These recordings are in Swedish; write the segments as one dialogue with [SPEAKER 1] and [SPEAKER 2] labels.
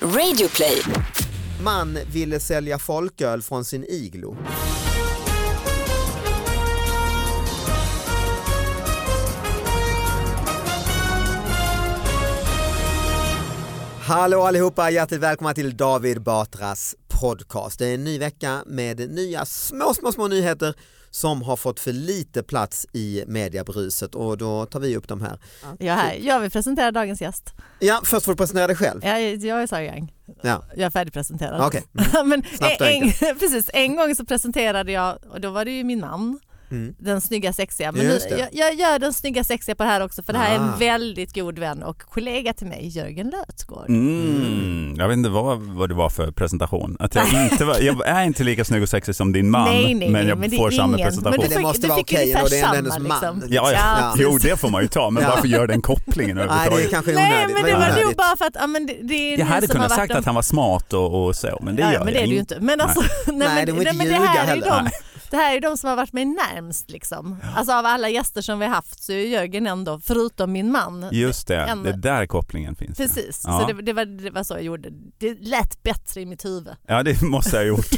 [SPEAKER 1] Radioplay.
[SPEAKER 2] Man ville sälja folköl från sin iglo. Hallå allihopa, hjärtligt välkomna till David Batras podcast. Det är en ny vecka med nya små, små, små nyheter som har fått för lite plats i mediabruset och då tar vi upp dem här.
[SPEAKER 3] Ja, här.
[SPEAKER 2] Typ.
[SPEAKER 3] Jag vill presentera dagens gäst.
[SPEAKER 2] Ja, först får du presentera dig själv.
[SPEAKER 3] Jag, jag är Sara Young.
[SPEAKER 2] Ja.
[SPEAKER 3] Jag är färdigpresenterad.
[SPEAKER 2] Okej. Mm.
[SPEAKER 3] Men
[SPEAKER 2] Snabbt och
[SPEAKER 3] en, precis, en gång så presenterade jag, och då var det ju min man,
[SPEAKER 2] Mm.
[SPEAKER 3] den snygga sexiga. Men nu,
[SPEAKER 2] Just det.
[SPEAKER 3] jag, jag gör den snygga sexiga på det här också för det här är
[SPEAKER 2] Ah.
[SPEAKER 3] en väldigt god vän och kollega till mig, Jörgen Lötgård.
[SPEAKER 4] Mm. Jag vet inte vad, vad det var för presentation. Att jag, inte var, jag är inte lika snygg och sexig som din man,
[SPEAKER 3] Nej, nej,
[SPEAKER 4] men
[SPEAKER 3] nej,
[SPEAKER 4] jag
[SPEAKER 3] men det är
[SPEAKER 4] får samma
[SPEAKER 3] ingen-
[SPEAKER 4] presentation.
[SPEAKER 3] men
[SPEAKER 2] Men
[SPEAKER 3] Du
[SPEAKER 2] det
[SPEAKER 3] fick-
[SPEAKER 2] måste
[SPEAKER 3] du
[SPEAKER 2] vara
[SPEAKER 3] fick
[SPEAKER 2] okej
[SPEAKER 3] ungefär
[SPEAKER 2] och det är ändå
[SPEAKER 3] samma,
[SPEAKER 2] hennes man.
[SPEAKER 3] liksom.
[SPEAKER 4] Ja, ja.
[SPEAKER 3] Ja,
[SPEAKER 4] Jo, det får man ju ta, men
[SPEAKER 2] Ja.
[SPEAKER 4] varför gör den kopplingen
[SPEAKER 2] Nej, det är
[SPEAKER 4] överhuvudtaget?
[SPEAKER 2] kanske är
[SPEAKER 3] Nej
[SPEAKER 2] onödigt.
[SPEAKER 3] men det var nog
[SPEAKER 2] onödigt.
[SPEAKER 3] bara för att ja, men det, det är ni
[SPEAKER 4] Jag hade
[SPEAKER 3] som har
[SPEAKER 4] kunnat
[SPEAKER 3] varit
[SPEAKER 4] sagt
[SPEAKER 3] de-
[SPEAKER 4] att han var smart och, och så, men det
[SPEAKER 3] ja,
[SPEAKER 4] gör
[SPEAKER 3] men det
[SPEAKER 4] jag
[SPEAKER 3] är det ju
[SPEAKER 4] inte.
[SPEAKER 3] inte. Men alltså, nej,
[SPEAKER 2] Nej,
[SPEAKER 3] men,
[SPEAKER 2] de vill
[SPEAKER 3] nej,
[SPEAKER 2] inte
[SPEAKER 3] men det,
[SPEAKER 2] ljuga
[SPEAKER 3] här är ju
[SPEAKER 2] heller.
[SPEAKER 3] de, det här är ju de som har varit mig närmst liksom. Alltså av alla gäster som vi har haft så är Jörgen ändå, förutom min man,
[SPEAKER 4] Just det,
[SPEAKER 3] En-
[SPEAKER 4] det är där kopplingen finns. ja.
[SPEAKER 3] Precis,
[SPEAKER 4] Ja.
[SPEAKER 3] så det, det, var, det var så jag gjorde. Det lät bättre i mitt huvud.
[SPEAKER 4] Ja, det måste jag ha gjort.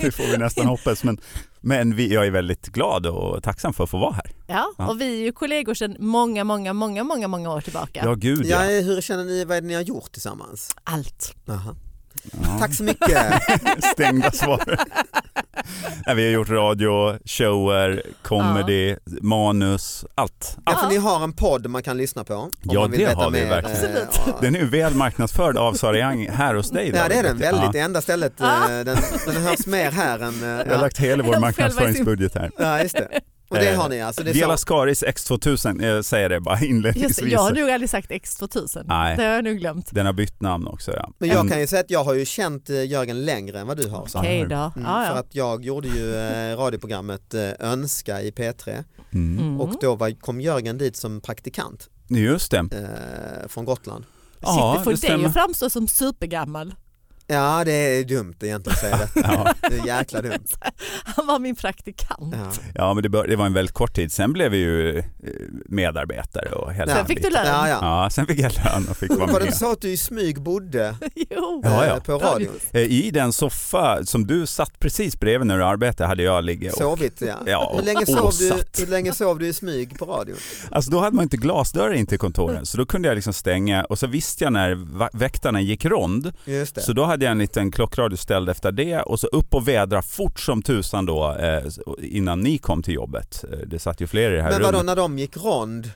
[SPEAKER 4] Det får vi nästan hoppas. Men, men vi, jag är väldigt glad och tacksam för att få vara här.
[SPEAKER 3] Ja,
[SPEAKER 4] Ja.
[SPEAKER 3] och vi är ju kollegor sedan många, många, många, många, många år tillbaka.
[SPEAKER 4] Ja, gud ja.
[SPEAKER 2] Ja, hur känner ni, vad är det ni har gjort tillsammans?
[SPEAKER 3] Allt.
[SPEAKER 2] Jaha.
[SPEAKER 4] ja.
[SPEAKER 2] Tack så mycket.
[SPEAKER 4] Stängda svar. Nej, vi har gjort radio, shower, comedy, manus, allt.
[SPEAKER 2] Ja,
[SPEAKER 3] Ja.
[SPEAKER 2] för ni har en podd man kan lyssna på. Om
[SPEAKER 4] Ja,
[SPEAKER 2] man vill
[SPEAKER 4] det
[SPEAKER 2] veta
[SPEAKER 4] har vi
[SPEAKER 2] mer,
[SPEAKER 4] verkligen.
[SPEAKER 2] eh,
[SPEAKER 3] Absolut.
[SPEAKER 2] och-
[SPEAKER 4] Den är ju väl marknadsförd av Sara Young här hos dig.
[SPEAKER 2] Ja det är
[SPEAKER 4] David.
[SPEAKER 2] den väldigt, det
[SPEAKER 4] Ja.
[SPEAKER 2] enda stället eh, den, den hörs mer här än... eh,
[SPEAKER 4] Jag har
[SPEAKER 2] Ja,
[SPEAKER 4] lagt Eh, hela vår
[SPEAKER 3] Själva
[SPEAKER 4] marknadsföringsbudget här.
[SPEAKER 2] ja just det. Och det har ni alltså? Det är
[SPEAKER 4] Dela
[SPEAKER 2] så.
[SPEAKER 4] Skaris X2000, jag säger det bara
[SPEAKER 3] Just, det,
[SPEAKER 4] inledningsvis.
[SPEAKER 3] jag har nog aldrig sagt X2000.
[SPEAKER 4] Nej.
[SPEAKER 3] Det har jag nog glömt.
[SPEAKER 4] Den har bytt namn också. Ja. Mm.
[SPEAKER 2] Men jag kan ju säga att jag har ju känt eh, Jörgen längre än vad du har. Så.
[SPEAKER 3] Okej
[SPEAKER 4] har du.
[SPEAKER 3] då.
[SPEAKER 2] Mm,
[SPEAKER 3] ja,
[SPEAKER 2] För
[SPEAKER 3] ja.
[SPEAKER 2] att jag gjorde ju eh, radioprogrammet eh, Önska i P3
[SPEAKER 4] Mm.
[SPEAKER 3] Mm.
[SPEAKER 2] och då var, kom Jörgen dit som praktikant
[SPEAKER 4] Just det.
[SPEAKER 2] eh, från Gotland.
[SPEAKER 4] Ja,
[SPEAKER 3] Shit, det
[SPEAKER 4] det
[SPEAKER 3] får dig
[SPEAKER 4] stämmer.
[SPEAKER 3] att framstå som supergammal.
[SPEAKER 2] Ja det är dumt egentligen att säga detta.
[SPEAKER 4] Ja.
[SPEAKER 2] Det är jäkla dumt.
[SPEAKER 3] Han var min praktikant.
[SPEAKER 2] Ja.
[SPEAKER 4] Ja, men det, bör, det var en väldigt kort tid. Sen blev vi ju eh, medarbetare och hela
[SPEAKER 3] Sen fick du lön.
[SPEAKER 2] Ja, ja.
[SPEAKER 4] Ja, sen fick jag lön och fick vara
[SPEAKER 2] Var det
[SPEAKER 4] med.
[SPEAKER 2] inte så att du i smyg bodde
[SPEAKER 3] Jo.
[SPEAKER 4] Ja,
[SPEAKER 2] eh,
[SPEAKER 4] ja.
[SPEAKER 2] på radion?
[SPEAKER 4] Eh, I den soffa som du satt precis bredvid när du arbetade hade jag ligga och...
[SPEAKER 2] Sovit ja.
[SPEAKER 4] Ja,
[SPEAKER 2] Hur länge, sov du,
[SPEAKER 4] åsatt.
[SPEAKER 2] hur länge sov du i smyg på radion?
[SPEAKER 4] Alltså då hade man inte glasdörrar in till kontoren så då kunde jag liksom stänga och så visste jag när va- väktarna gick rond
[SPEAKER 2] Just det.
[SPEAKER 4] så då hade jag en liten klockradio ställd efter det och så upp och vädra fort som tusan då eh, innan ni kom till jobbet. Eh, Det satt ju fler i det här
[SPEAKER 2] Men vadå
[SPEAKER 4] rummet.
[SPEAKER 2] när de gick rond?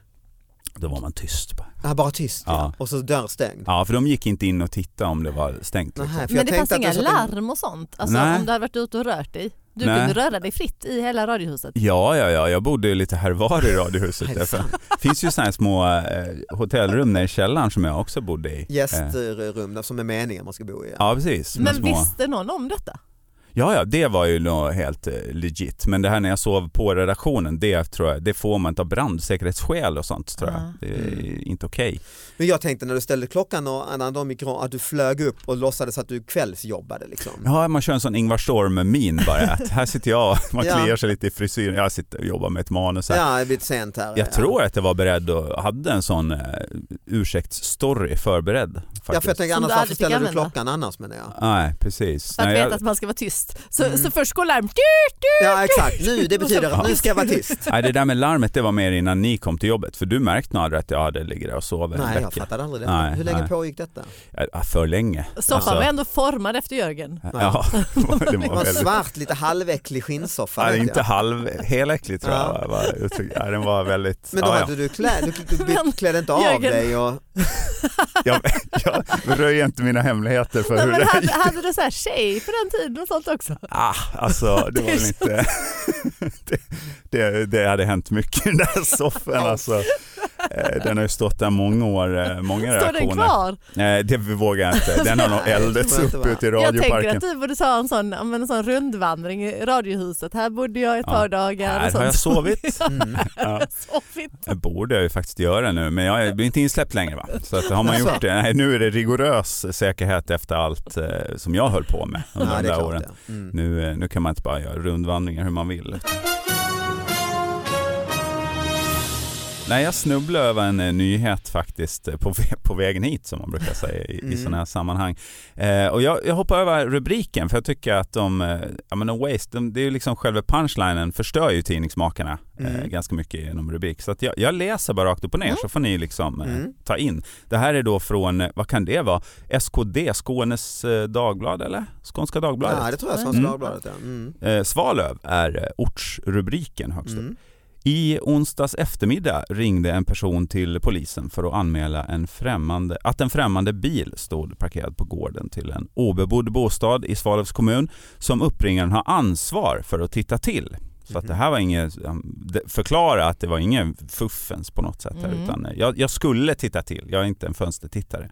[SPEAKER 4] Då var man tyst bara.
[SPEAKER 2] Ja, bara tyst ja.
[SPEAKER 4] Ja.
[SPEAKER 2] och så dörr stängd.
[SPEAKER 4] Ja för de gick inte in och tittade om det var stängt.
[SPEAKER 2] Nähä,
[SPEAKER 4] Liksom.
[SPEAKER 2] för
[SPEAKER 3] Men
[SPEAKER 2] jag
[SPEAKER 3] det fanns
[SPEAKER 2] tänkte
[SPEAKER 3] inga
[SPEAKER 2] att du satt en-
[SPEAKER 3] larm och sånt? Alltså
[SPEAKER 4] Nej.
[SPEAKER 3] om du hade varit ute och rört dig? Du
[SPEAKER 4] Nej.
[SPEAKER 3] kunde röra dig fritt i hela radiohuset?
[SPEAKER 4] Ja, ja, ja, jag bodde ju lite här var i
[SPEAKER 2] Nej,
[SPEAKER 4] radiohuset.
[SPEAKER 2] det är
[SPEAKER 4] därför- Det finns ju sådana här små eh, hotellrum nere i källaren som jag också bodde i. Eh,
[SPEAKER 2] Gästrum där som är meningen man ska bo i. Ja.
[SPEAKER 4] Ja, precis. med
[SPEAKER 3] Men
[SPEAKER 4] små...
[SPEAKER 3] visste någon om detta?
[SPEAKER 4] Ja, ja, det var ju nog helt eh, legit. Men det här när jag sov på redaktionen, det tror jag, det får man inte av brandsäkerhetsskäl och sånt tror jag.
[SPEAKER 3] Ah.
[SPEAKER 4] Det är inte okej.
[SPEAKER 2] Men jag tänkte när du ställde klockan och när de gick rond att du flög upp och låtsades att du kvällsjobbade liksom.
[SPEAKER 4] Ja, man kör en sån Ingvar Storm-min bara. Att här sitter jag, man
[SPEAKER 2] Ja.
[SPEAKER 4] kliar sig lite i frisyren, jag sitter och jobbar med ett manus här.
[SPEAKER 2] Ja, det har blivit sent här.
[SPEAKER 4] Jag
[SPEAKER 2] ja.
[SPEAKER 4] tror att jag var beredd och hade en sån eh, ursäktsstory förberedd. Faktiskt.
[SPEAKER 2] Ja, för jag tänker
[SPEAKER 3] Som
[SPEAKER 2] annars
[SPEAKER 3] du
[SPEAKER 2] varför
[SPEAKER 3] aldrig fick
[SPEAKER 2] ställer du
[SPEAKER 3] använda.
[SPEAKER 2] klockan annars menar jag.
[SPEAKER 4] Nej, precis.
[SPEAKER 3] För att
[SPEAKER 4] Nej, jag-
[SPEAKER 3] veta att man ska vara tyst. Så,
[SPEAKER 2] Mm.
[SPEAKER 3] så först går larm.
[SPEAKER 2] Ja exakt, nu det betyder att nu ska jag vara tyst.
[SPEAKER 4] Nej, det där med larmet det var mer innan ni kom till jobbet för du märkte nog aldrig att jag hade ligger och sover en
[SPEAKER 2] Nej jag
[SPEAKER 4] vecka.
[SPEAKER 2] fattade aldrig det.
[SPEAKER 4] Nej,
[SPEAKER 2] Hur länge
[SPEAKER 4] nej.
[SPEAKER 2] pågick detta?
[SPEAKER 4] Ja, för länge.
[SPEAKER 3] Soffan
[SPEAKER 4] Alltså.
[SPEAKER 3] var ändå formad efter Jörgen.
[SPEAKER 4] Ja,
[SPEAKER 2] Det
[SPEAKER 4] det var
[SPEAKER 2] var en
[SPEAKER 4] väldigt...
[SPEAKER 2] svart lite halväcklig skinnsoffa.
[SPEAKER 4] Nej,
[SPEAKER 2] vet
[SPEAKER 4] inte
[SPEAKER 2] jag.
[SPEAKER 4] halv, heläcklig tror jag.
[SPEAKER 2] Ja.
[SPEAKER 4] var uttryck- Ja, den var väldigt...
[SPEAKER 2] Men då
[SPEAKER 4] ja,
[SPEAKER 2] hade du kläder, du, du, du
[SPEAKER 3] Men,
[SPEAKER 2] klädde inte av
[SPEAKER 3] Jörgen.
[SPEAKER 2] dig och...
[SPEAKER 4] ja. jag, jag röjer inte mina hemligheter för
[SPEAKER 3] Nej,
[SPEAKER 4] hur
[SPEAKER 3] men
[SPEAKER 4] det
[SPEAKER 3] hade,
[SPEAKER 4] gick.
[SPEAKER 3] hade du så här tjej på den tiden och sånt också?
[SPEAKER 4] Ah, alltså, det var
[SPEAKER 3] Det
[SPEAKER 4] väl inte... det, det, det hade hänt mycket i den där soffan alltså. Eh, Den har ju stått där många år, eh, många
[SPEAKER 3] Står den
[SPEAKER 4] reaktioner.
[SPEAKER 3] kvar?
[SPEAKER 4] Nej, det vågar jag inte. Den har nog
[SPEAKER 2] Nej, det
[SPEAKER 4] eldats
[SPEAKER 2] tror jag inte,
[SPEAKER 4] upp
[SPEAKER 2] va?
[SPEAKER 4] ute i
[SPEAKER 3] Jag tänker
[SPEAKER 4] radioparken.
[SPEAKER 3] att du borde ta en sån, ja, men en sån rundvandring i radiohuset. Här bodde jag ett
[SPEAKER 4] Ja.
[SPEAKER 3] par dagar. och
[SPEAKER 4] Här har jag
[SPEAKER 3] sånt.
[SPEAKER 4] sovit.
[SPEAKER 2] Mm.
[SPEAKER 4] Ja.
[SPEAKER 3] Sovit.
[SPEAKER 4] Det Eh, borde jag ju faktiskt göra nu, men jag blir inte insläppt längre. Va? Så att, har man
[SPEAKER 2] Alltså.
[SPEAKER 4] gjort det, nej, nu är det rigorös säkerhet efter allt eh, som jag höll på med under
[SPEAKER 2] Ja, det
[SPEAKER 4] de
[SPEAKER 2] är
[SPEAKER 4] där
[SPEAKER 2] klart
[SPEAKER 4] åren.
[SPEAKER 2] det. Mm.
[SPEAKER 4] Nu, eh, nu kan man inte bara göra rundvandringar hur man vill. Nej, jag snubblade över en eh, nyhet faktiskt eh, på, vä- på vägen hit som man brukar säga i, i
[SPEAKER 2] Mm.
[SPEAKER 4] sådana här sammanhang. Eh, och jag, jag hoppar över rubriken för jag tycker att de, eh, ja men No Waste, de, det är ju liksom själva punchlinen förstör ju tidningsmakarna eh,
[SPEAKER 2] Mm.
[SPEAKER 4] ganska mycket genom rubrik. Så att jag, jag läser bara rakt upp och ner
[SPEAKER 3] Mm.
[SPEAKER 4] så får ni liksom eh,
[SPEAKER 2] Mm.
[SPEAKER 4] ta in. Det här är då från, eh, vad kan det vara, SKD, Skånes eh, Dagblad eller? Skånska Dagbladet.
[SPEAKER 2] Ja, det tror jag Svenska
[SPEAKER 4] Mm.
[SPEAKER 2] Dagbladet. Ja. Mm.
[SPEAKER 4] Eh, Svalöv är eh, ortsrubriken högst upp.
[SPEAKER 2] Mm.
[SPEAKER 4] I onsdags eftermiddag ringde en person till polisen för att anmäla en främmande, att en främmande bil stod parkerad på gården till en obebodd bostad i Svalövs kommun som uppringaren har ansvar för att titta till. Så att det här var inget, um, det- förklara att det var ingen fuffens på något sätt här,
[SPEAKER 3] Mm.
[SPEAKER 4] utan eh, jag, jag skulle titta till, jag är inte en fönstertittare.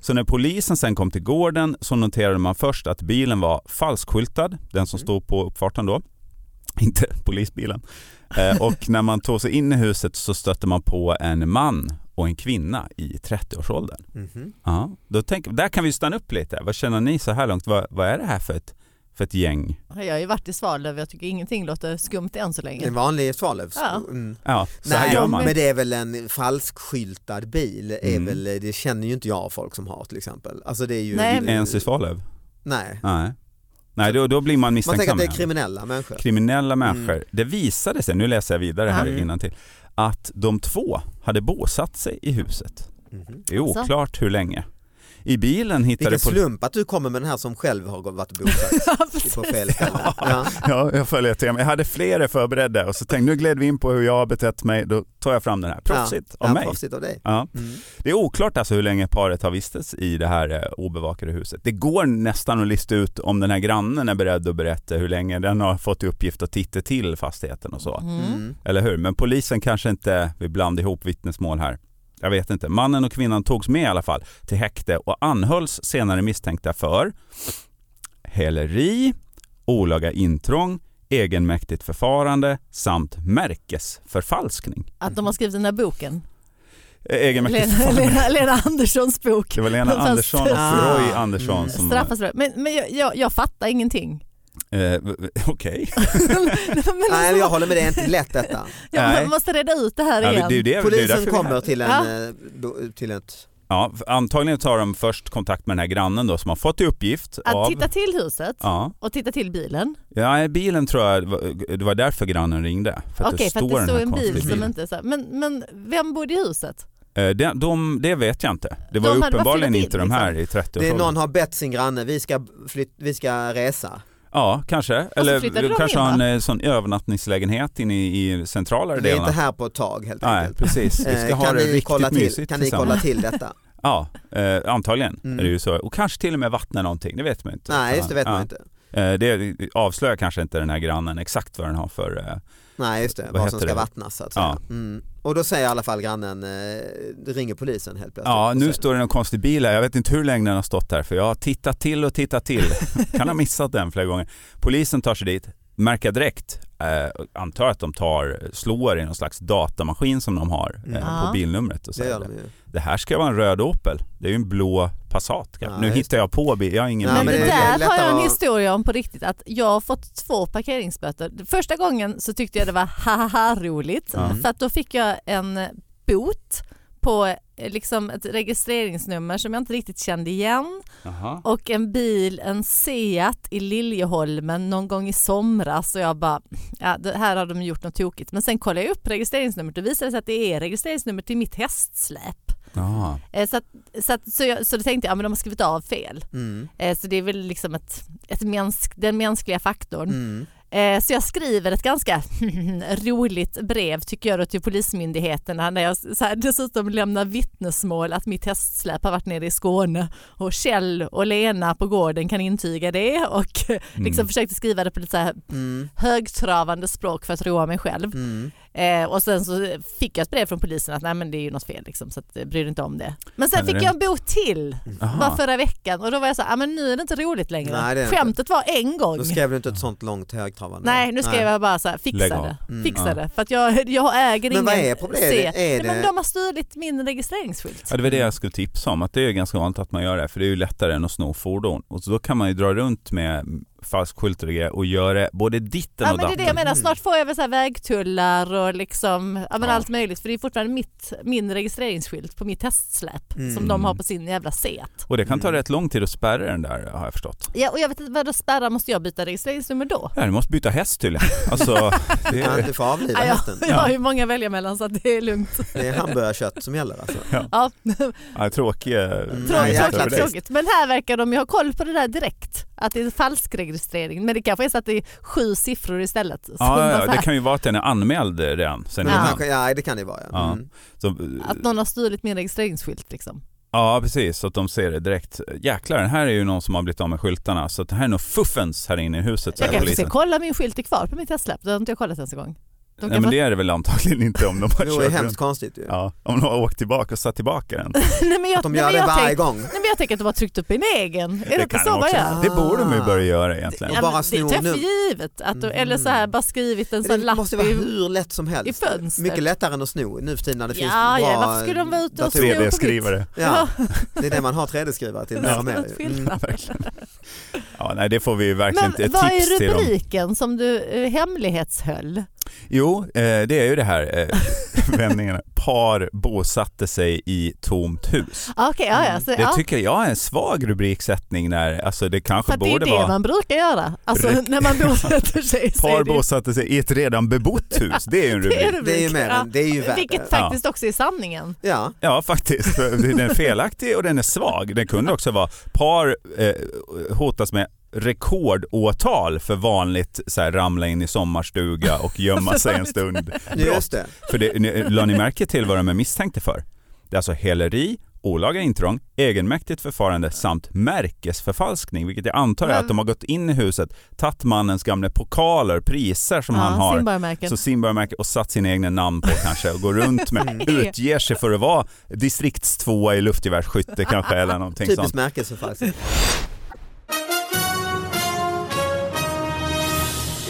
[SPEAKER 4] Så när polisen sen kom till gården så noterade man först att bilen var falskskyltad, den som
[SPEAKER 2] Mm.
[SPEAKER 4] stod på uppfarten då, inte polisbilen. Eh, och när man tog sig in i huset så stötte man på en man och en kvinna i 30-årsåldern.
[SPEAKER 2] Mhm.
[SPEAKER 4] Ja, då tänk, där kan vi stanna upp lite. Vad känner ni så här långt? Vad, vad är det här för ett, för ett gäng?
[SPEAKER 3] Jag har ju varit i Svalöv och jag tycker ingenting låter skumt än så länge.
[SPEAKER 2] En vanlig Svalövs.
[SPEAKER 3] Ja.
[SPEAKER 2] Mm.
[SPEAKER 4] Ja, så här
[SPEAKER 2] Nej,
[SPEAKER 4] gör man.
[SPEAKER 2] men det är väl en falskskyltad bil, är
[SPEAKER 4] Mm.
[SPEAKER 2] väl, det känner ju inte jag folk som har till exempel. Alltså det är ju...
[SPEAKER 3] Nej, men-
[SPEAKER 4] Ens i Svalöv?
[SPEAKER 2] Nej.
[SPEAKER 4] Nej, Nej då, då blir man
[SPEAKER 2] Man tänker
[SPEAKER 4] misstänksam.
[SPEAKER 2] att det är
[SPEAKER 4] igen.
[SPEAKER 2] kriminella människor.
[SPEAKER 4] kriminella människor. Det visade sig, nu läser jag vidare här
[SPEAKER 2] Mm.
[SPEAKER 4] innantill, att de två hade bosatt sig i huset.
[SPEAKER 2] Mhm.
[SPEAKER 4] Det är oklart hur länge. I bilen hittade
[SPEAKER 2] Vilken
[SPEAKER 4] polisen...
[SPEAKER 2] slump att du kommer med den här som själv har varit bosatt
[SPEAKER 3] Ja,
[SPEAKER 2] på
[SPEAKER 3] precis.
[SPEAKER 2] fel ställe. Ja.
[SPEAKER 4] Ja, jag följer ett tema. Jag hade flera förberedda och så tänkte nu gled vi in på hur jag har betett mig. Då tar jag fram den här. Proffsigt
[SPEAKER 2] ja.
[SPEAKER 4] av
[SPEAKER 2] ja,
[SPEAKER 4] mig.
[SPEAKER 2] Proffsigt av dig.
[SPEAKER 4] Ja.
[SPEAKER 2] Mm.
[SPEAKER 4] Det är oklart alltså hur länge paret har vistats i det här eh, obevakade huset. Det går nästan att lista ut om den här grannen är beredd att berätta hur länge den har fått i uppgift att titta till fastigheten och så.
[SPEAKER 3] Mm.
[SPEAKER 2] Mm.
[SPEAKER 4] Eller hur? Men polisen kanske inte vill blanda ihop vittnesmål här. Jag vet inte. Mannen och kvinnan togs med i alla fall till häkte och anhölls senare misstänkta för häleri, olaga intrång, egenmäktigt förfarande samt märkesförfalskning.
[SPEAKER 3] Att de har skrivit den här boken.
[SPEAKER 4] Eh, Egenmäktigt
[SPEAKER 3] Lena,
[SPEAKER 4] förfarande.
[SPEAKER 3] Lena, Lena Anderssons bok.
[SPEAKER 4] Det var Lena
[SPEAKER 3] Fast-
[SPEAKER 4] Andersson och
[SPEAKER 2] Ah.
[SPEAKER 4] Roy Andersson
[SPEAKER 2] Mm.
[SPEAKER 4] som... Eh,
[SPEAKER 3] Straffas för det. Men, men jag, jag, jag fattar ingenting.
[SPEAKER 4] v- v- Okej.
[SPEAKER 3] Men alltså,
[SPEAKER 2] Nej, jag håller med, det är inte lätt detta.
[SPEAKER 3] jag
[SPEAKER 4] Nej.
[SPEAKER 3] måste reda ut det här
[SPEAKER 4] Ja, det- det är ju
[SPEAKER 3] igen.
[SPEAKER 4] det- det är ju därför
[SPEAKER 2] Polisen
[SPEAKER 4] vi är här.
[SPEAKER 2] kommer till, en,
[SPEAKER 3] Ja.
[SPEAKER 2] eh, bo- till ett...
[SPEAKER 4] Ja, antagligen tar de först kontakt med den här grannen då som har fått i uppgift av...
[SPEAKER 3] Att titta till huset
[SPEAKER 4] Ja.
[SPEAKER 3] och titta till bilen.
[SPEAKER 4] Ja, i bilen tror jag, det var därför grannen ringde. För att
[SPEAKER 3] Okej,
[SPEAKER 4] det
[SPEAKER 3] för att
[SPEAKER 4] står
[SPEAKER 3] det
[SPEAKER 4] den
[SPEAKER 3] stod
[SPEAKER 4] här
[SPEAKER 3] en
[SPEAKER 4] konstiga
[SPEAKER 3] bil som
[SPEAKER 4] bilen.
[SPEAKER 3] inte... är Så här. Men, men vem bodde i huset?
[SPEAKER 4] Eh, Det, de, det vet jag inte. Det
[SPEAKER 3] De
[SPEAKER 4] var ju
[SPEAKER 3] hade bara
[SPEAKER 4] uppenbarligen
[SPEAKER 3] fyllt in,
[SPEAKER 4] inte de här i
[SPEAKER 3] liksom?
[SPEAKER 4] 30
[SPEAKER 2] Det är
[SPEAKER 4] årsåldern
[SPEAKER 2] någon har bett sin granne, vi ska, flyt, vi ska resa.
[SPEAKER 4] Ja, kanske.
[SPEAKER 3] flyttade
[SPEAKER 4] Eller
[SPEAKER 3] de
[SPEAKER 4] kanske
[SPEAKER 3] in,
[SPEAKER 4] har en
[SPEAKER 3] va?
[SPEAKER 4] eh, sån övernattningslägenhet inne i, i centralare
[SPEAKER 2] Vi är inte
[SPEAKER 4] delen.
[SPEAKER 2] här på ett tag helt
[SPEAKER 4] Nej,
[SPEAKER 2] enkelt.
[SPEAKER 4] precis. Vi
[SPEAKER 2] Eh,
[SPEAKER 4] ska ha det
[SPEAKER 2] ni
[SPEAKER 4] riktigt
[SPEAKER 2] kolla till,
[SPEAKER 4] mysigt
[SPEAKER 2] kan ni kolla
[SPEAKER 4] tillsammans.
[SPEAKER 2] till detta?
[SPEAKER 4] Ja, eh, antagligen
[SPEAKER 2] Mm.
[SPEAKER 4] är det ju så. Och kanske till och med vattna någonting, det vet man inte.
[SPEAKER 2] Nej, just det vet
[SPEAKER 4] ja.
[SPEAKER 2] man inte.
[SPEAKER 4] Eh, Det avslöjar kanske inte den här grannen exakt vad den har för... eh,
[SPEAKER 2] Nej, just det,
[SPEAKER 4] Vad
[SPEAKER 2] vad
[SPEAKER 4] heter
[SPEAKER 2] som ska
[SPEAKER 4] det?
[SPEAKER 2] vattnas så att säga.
[SPEAKER 4] Ja.
[SPEAKER 2] Mm. Och då säger i alla fall grannen, eh, ringer polisen helt plötsligt.
[SPEAKER 4] Ja,
[SPEAKER 2] Alltså, och
[SPEAKER 4] nu
[SPEAKER 2] säger-
[SPEAKER 4] står det någon konstig bil här. Jag vet inte hur länge den har stått här för jag har tittat till och tittat till. Kan ha missat den flera gånger. Polisen tar sig dit, märker direkt, eh, antar att de tar, slår i någon slags datamaskin som de har eh,
[SPEAKER 2] Mm.
[SPEAKER 4] på
[SPEAKER 3] Ja.
[SPEAKER 4] bilnumret och
[SPEAKER 2] det gör
[SPEAKER 4] säger
[SPEAKER 2] de
[SPEAKER 4] det.
[SPEAKER 2] ju.
[SPEAKER 4] det här ska vara en röd Opel. Det är ju en blå Passat.
[SPEAKER 2] Ja,
[SPEAKER 4] nu
[SPEAKER 2] just
[SPEAKER 4] hittar jag på bil, jag har ingen
[SPEAKER 2] Ja,
[SPEAKER 3] men
[SPEAKER 4] bil.
[SPEAKER 3] det,
[SPEAKER 2] men det är
[SPEAKER 3] där
[SPEAKER 2] lätt
[SPEAKER 3] har jag
[SPEAKER 2] att
[SPEAKER 3] en
[SPEAKER 2] vara-
[SPEAKER 3] historia om på riktigt. Att jag har fått två parkeringsböter. Första gången så tyckte jag det var haha roligt.
[SPEAKER 4] Ja.
[SPEAKER 3] För att då fick jag en bot på eh, liksom ett registreringsnummer som jag inte riktigt kände igen
[SPEAKER 4] Jaha.
[SPEAKER 3] och en bil, en Seat i Liljeholmen någon gång i somras och jag bara, ja, det här har de gjort något tokigt. Men sen kollade jag upp registreringsnumret och visade sig att det är registreringsnummer till mitt hästsläp.
[SPEAKER 4] Ja.
[SPEAKER 3] Eh, Så, att, så, att, så, jag, så då tänkte jag, ja, men de har skrivit av fel.
[SPEAKER 2] Mm.
[SPEAKER 3] Eh, Så det är väl liksom ett, ett mänsk, den mänskliga faktorn.
[SPEAKER 2] Mm.
[SPEAKER 3] Eh, Så jag skriver ett ganska roligt brev tycker jag då till Polismyndigheten där jag så här, dessutom lämnar vittnesmål att mitt hästsläp har varit nere i Skåne och Kjell och Lena på gården kan intyga det och liksom försökte skriva det på lite så här
[SPEAKER 2] Mm.
[SPEAKER 3] högtravande språk för att roa mig själv.
[SPEAKER 2] Mm.
[SPEAKER 3] Eh, och sen så fick jag ett brev från polisen att nej men det är ju något fel liksom så att, eh, bryr dig inte om det. Men sen
[SPEAKER 4] Men är
[SPEAKER 3] fick
[SPEAKER 4] det-
[SPEAKER 3] jag en bot till var
[SPEAKER 4] Aha.
[SPEAKER 3] förra veckan och då var jag så här, "Ah, men nu är det inte roligt längre.
[SPEAKER 2] Nej, det är det
[SPEAKER 3] Skämtet var en gång.
[SPEAKER 2] Då skrev du inte ett sånt långt högtravande.
[SPEAKER 3] Nej nu skrev jag bara så här, fixa
[SPEAKER 4] Lägg av.
[SPEAKER 3] det.
[SPEAKER 2] Mm.
[SPEAKER 3] Fixa
[SPEAKER 4] Ja.
[SPEAKER 3] det. För att jag, jag äger
[SPEAKER 2] Men
[SPEAKER 3] ingen
[SPEAKER 2] vad är problemet?
[SPEAKER 3] C.
[SPEAKER 2] Är
[SPEAKER 3] Nej,
[SPEAKER 2] det-
[SPEAKER 3] Men de har stulit min registreringsskylt.
[SPEAKER 4] Ja, det var det jag skulle tipsa om, att det är ganska vanligt att man gör det, här, för det är ju lättare än att sno fordon. Och så då kan man ju dra runt med falsk skyltregrej och gör det både ditten
[SPEAKER 3] Ja men
[SPEAKER 4] och
[SPEAKER 3] det är det
[SPEAKER 4] datten.
[SPEAKER 3] jag menar, snart får jag väl så här vägtullar och liksom, ja, men
[SPEAKER 4] Mm. Ja.
[SPEAKER 3] allt möjligt för det är fortfarande mitt, min registreringsskylt på mitt testsläp
[SPEAKER 2] Mm.
[SPEAKER 3] som de har på sin jävla set.
[SPEAKER 4] Och det kan ta
[SPEAKER 2] Mm.
[SPEAKER 4] rätt lång tid att spärra den där har jag förstått.
[SPEAKER 3] Ja, och jag vet inte, vadå spärrar, måste jag byta registreringsnummer då?
[SPEAKER 4] Ja, du måste byta häst tydligen. Alltså, det
[SPEAKER 2] Kan
[SPEAKER 4] är,
[SPEAKER 2] du få avliva
[SPEAKER 3] Ja, jag,
[SPEAKER 2] hästen?
[SPEAKER 3] jag har ju många att välja mellan så att det är lugnt.
[SPEAKER 2] Det är hamburgarkött som gäller alltså.
[SPEAKER 3] Ja,
[SPEAKER 4] ja, tråkig eh,
[SPEAKER 2] Nej,
[SPEAKER 3] tråkigt,
[SPEAKER 4] nyhet
[SPEAKER 2] jäkla
[SPEAKER 4] över
[SPEAKER 3] tråkigt,
[SPEAKER 4] dig.
[SPEAKER 3] tråkigt. Men här verkar de ju ha koll på det där direkt. Att det är falsk registrering. Men det kanske är så att det är sju siffror istället. som
[SPEAKER 4] Ja,
[SPEAKER 3] bara
[SPEAKER 4] ja,
[SPEAKER 3] så
[SPEAKER 4] ja, det
[SPEAKER 3] här,
[SPEAKER 4] kan ju vara att den är anmäld redan sen
[SPEAKER 3] Ja.
[SPEAKER 4] innan.
[SPEAKER 2] Ja. ja det kan det vara. Ja.
[SPEAKER 4] Ja.
[SPEAKER 2] Mm.
[SPEAKER 4] Så,
[SPEAKER 3] Att någon har stulit min registreringsskylt liksom.
[SPEAKER 4] ja, precis. Så att de ser det direkt. Jäklar, den här är ju någon som har blivit av med skyltarna. Så att det här är nog fuffens här inne i huset,
[SPEAKER 3] Jag
[SPEAKER 4] säger
[SPEAKER 3] kanske
[SPEAKER 4] polisen.
[SPEAKER 3] ska kolla om min skylt är kvar på mitt testsläpp. Det har inte jag kollat ens en gång. De kan
[SPEAKER 4] Nej, men det är det väl antagligen inte om de
[SPEAKER 2] Det
[SPEAKER 4] har
[SPEAKER 2] vore ju
[SPEAKER 4] kört
[SPEAKER 2] hemskt
[SPEAKER 4] runt.
[SPEAKER 2] konstigt ju.
[SPEAKER 4] Ja, om de har åkt tillbaka och satt tillbaka den.
[SPEAKER 3] nej, men jag,
[SPEAKER 2] Att de
[SPEAKER 3] nej,
[SPEAKER 2] gör
[SPEAKER 3] men
[SPEAKER 2] det
[SPEAKER 3] jag
[SPEAKER 2] varje
[SPEAKER 3] tänk-
[SPEAKER 2] gång.
[SPEAKER 3] Nej, men jag tänker att de har tryckt upp en egen. Är det, inte
[SPEAKER 4] kan
[SPEAKER 3] så
[SPEAKER 4] de
[SPEAKER 3] man
[SPEAKER 4] också.
[SPEAKER 3] gör?
[SPEAKER 4] Det borde de ju börja göra egentligen.
[SPEAKER 2] Och
[SPEAKER 3] Ja,
[SPEAKER 2] bara
[SPEAKER 3] men det
[SPEAKER 2] snor
[SPEAKER 3] tar
[SPEAKER 2] nu. Mm.
[SPEAKER 3] för givet. Att de, Eller så här, bara skrivit en sån
[SPEAKER 2] Det
[SPEAKER 3] lapp.
[SPEAKER 2] måste vara
[SPEAKER 3] i-
[SPEAKER 2] hur lätt som helst.
[SPEAKER 3] i fönstret.
[SPEAKER 2] Mycket lättare än att sno nu för tiden när det finns
[SPEAKER 3] Ja, ja,
[SPEAKER 2] bra
[SPEAKER 3] varför skulle de vara ute och
[SPEAKER 2] datorer.
[SPEAKER 3] sno?
[SPEAKER 4] 3D-skrivare.
[SPEAKER 2] Ja, det är det man har 3D-skrivare till mer och mer.
[SPEAKER 3] Att skylta.
[SPEAKER 2] Mm.
[SPEAKER 4] Ja, nej, det får vi ju verkligen
[SPEAKER 3] Men
[SPEAKER 4] inte. Ett
[SPEAKER 3] vad
[SPEAKER 4] tips
[SPEAKER 3] är
[SPEAKER 4] till dem.
[SPEAKER 3] rubriken som du eh, hemlighetshöll?
[SPEAKER 4] Jo, eh, det är ju det här eh, vändningarna. Par bosatte sig i tomt hus.
[SPEAKER 3] Ah, Okej, ja, ja. Så,
[SPEAKER 4] Det
[SPEAKER 3] ja.
[SPEAKER 4] tycker jag är en svag rubriksättning. När, alltså det kanske
[SPEAKER 3] För att det är
[SPEAKER 4] borde
[SPEAKER 3] det
[SPEAKER 4] vara
[SPEAKER 3] man brukar göra. Alltså
[SPEAKER 4] Riktigt.
[SPEAKER 3] när man bosätter sig. så är
[SPEAKER 4] par
[SPEAKER 3] det ju-
[SPEAKER 4] bosatte sig i ett redan bebott hus. Det är ju en
[SPEAKER 3] Det är
[SPEAKER 4] rubrik.
[SPEAKER 3] rubrik.
[SPEAKER 2] Det är ju mer
[SPEAKER 3] Ja.
[SPEAKER 2] än, det är ju värre.
[SPEAKER 3] Vilket faktiskt också är sanningen.
[SPEAKER 2] Ja,
[SPEAKER 4] Ja faktiskt, För den är felaktig och den är svag. Den kunde också vara par eh, hotas med rekordåtal för vanligt så här, ramla in i sommarstuga och gömma sig en stund.
[SPEAKER 2] just det.
[SPEAKER 4] För det, ni- la ni märke till vad de är misstänkta för? Det är alltså häleri, olaga intrång, egenmäktigt förfarande samt märkesförfalskning. Vilket jag antar är att de har gått in i huset, tagit mannens gamla pokaler, priser som han har.
[SPEAKER 3] Simborgarmärken.
[SPEAKER 4] Så Simborgarmärke och satt sina egna namn på kanske och går runt med,
[SPEAKER 3] Mm.
[SPEAKER 4] utger sig för att vara distriktstvåa i luftgevärsskytte kanske eller någonting
[SPEAKER 2] Typiskt
[SPEAKER 4] sånt.
[SPEAKER 2] märkesförfalskning.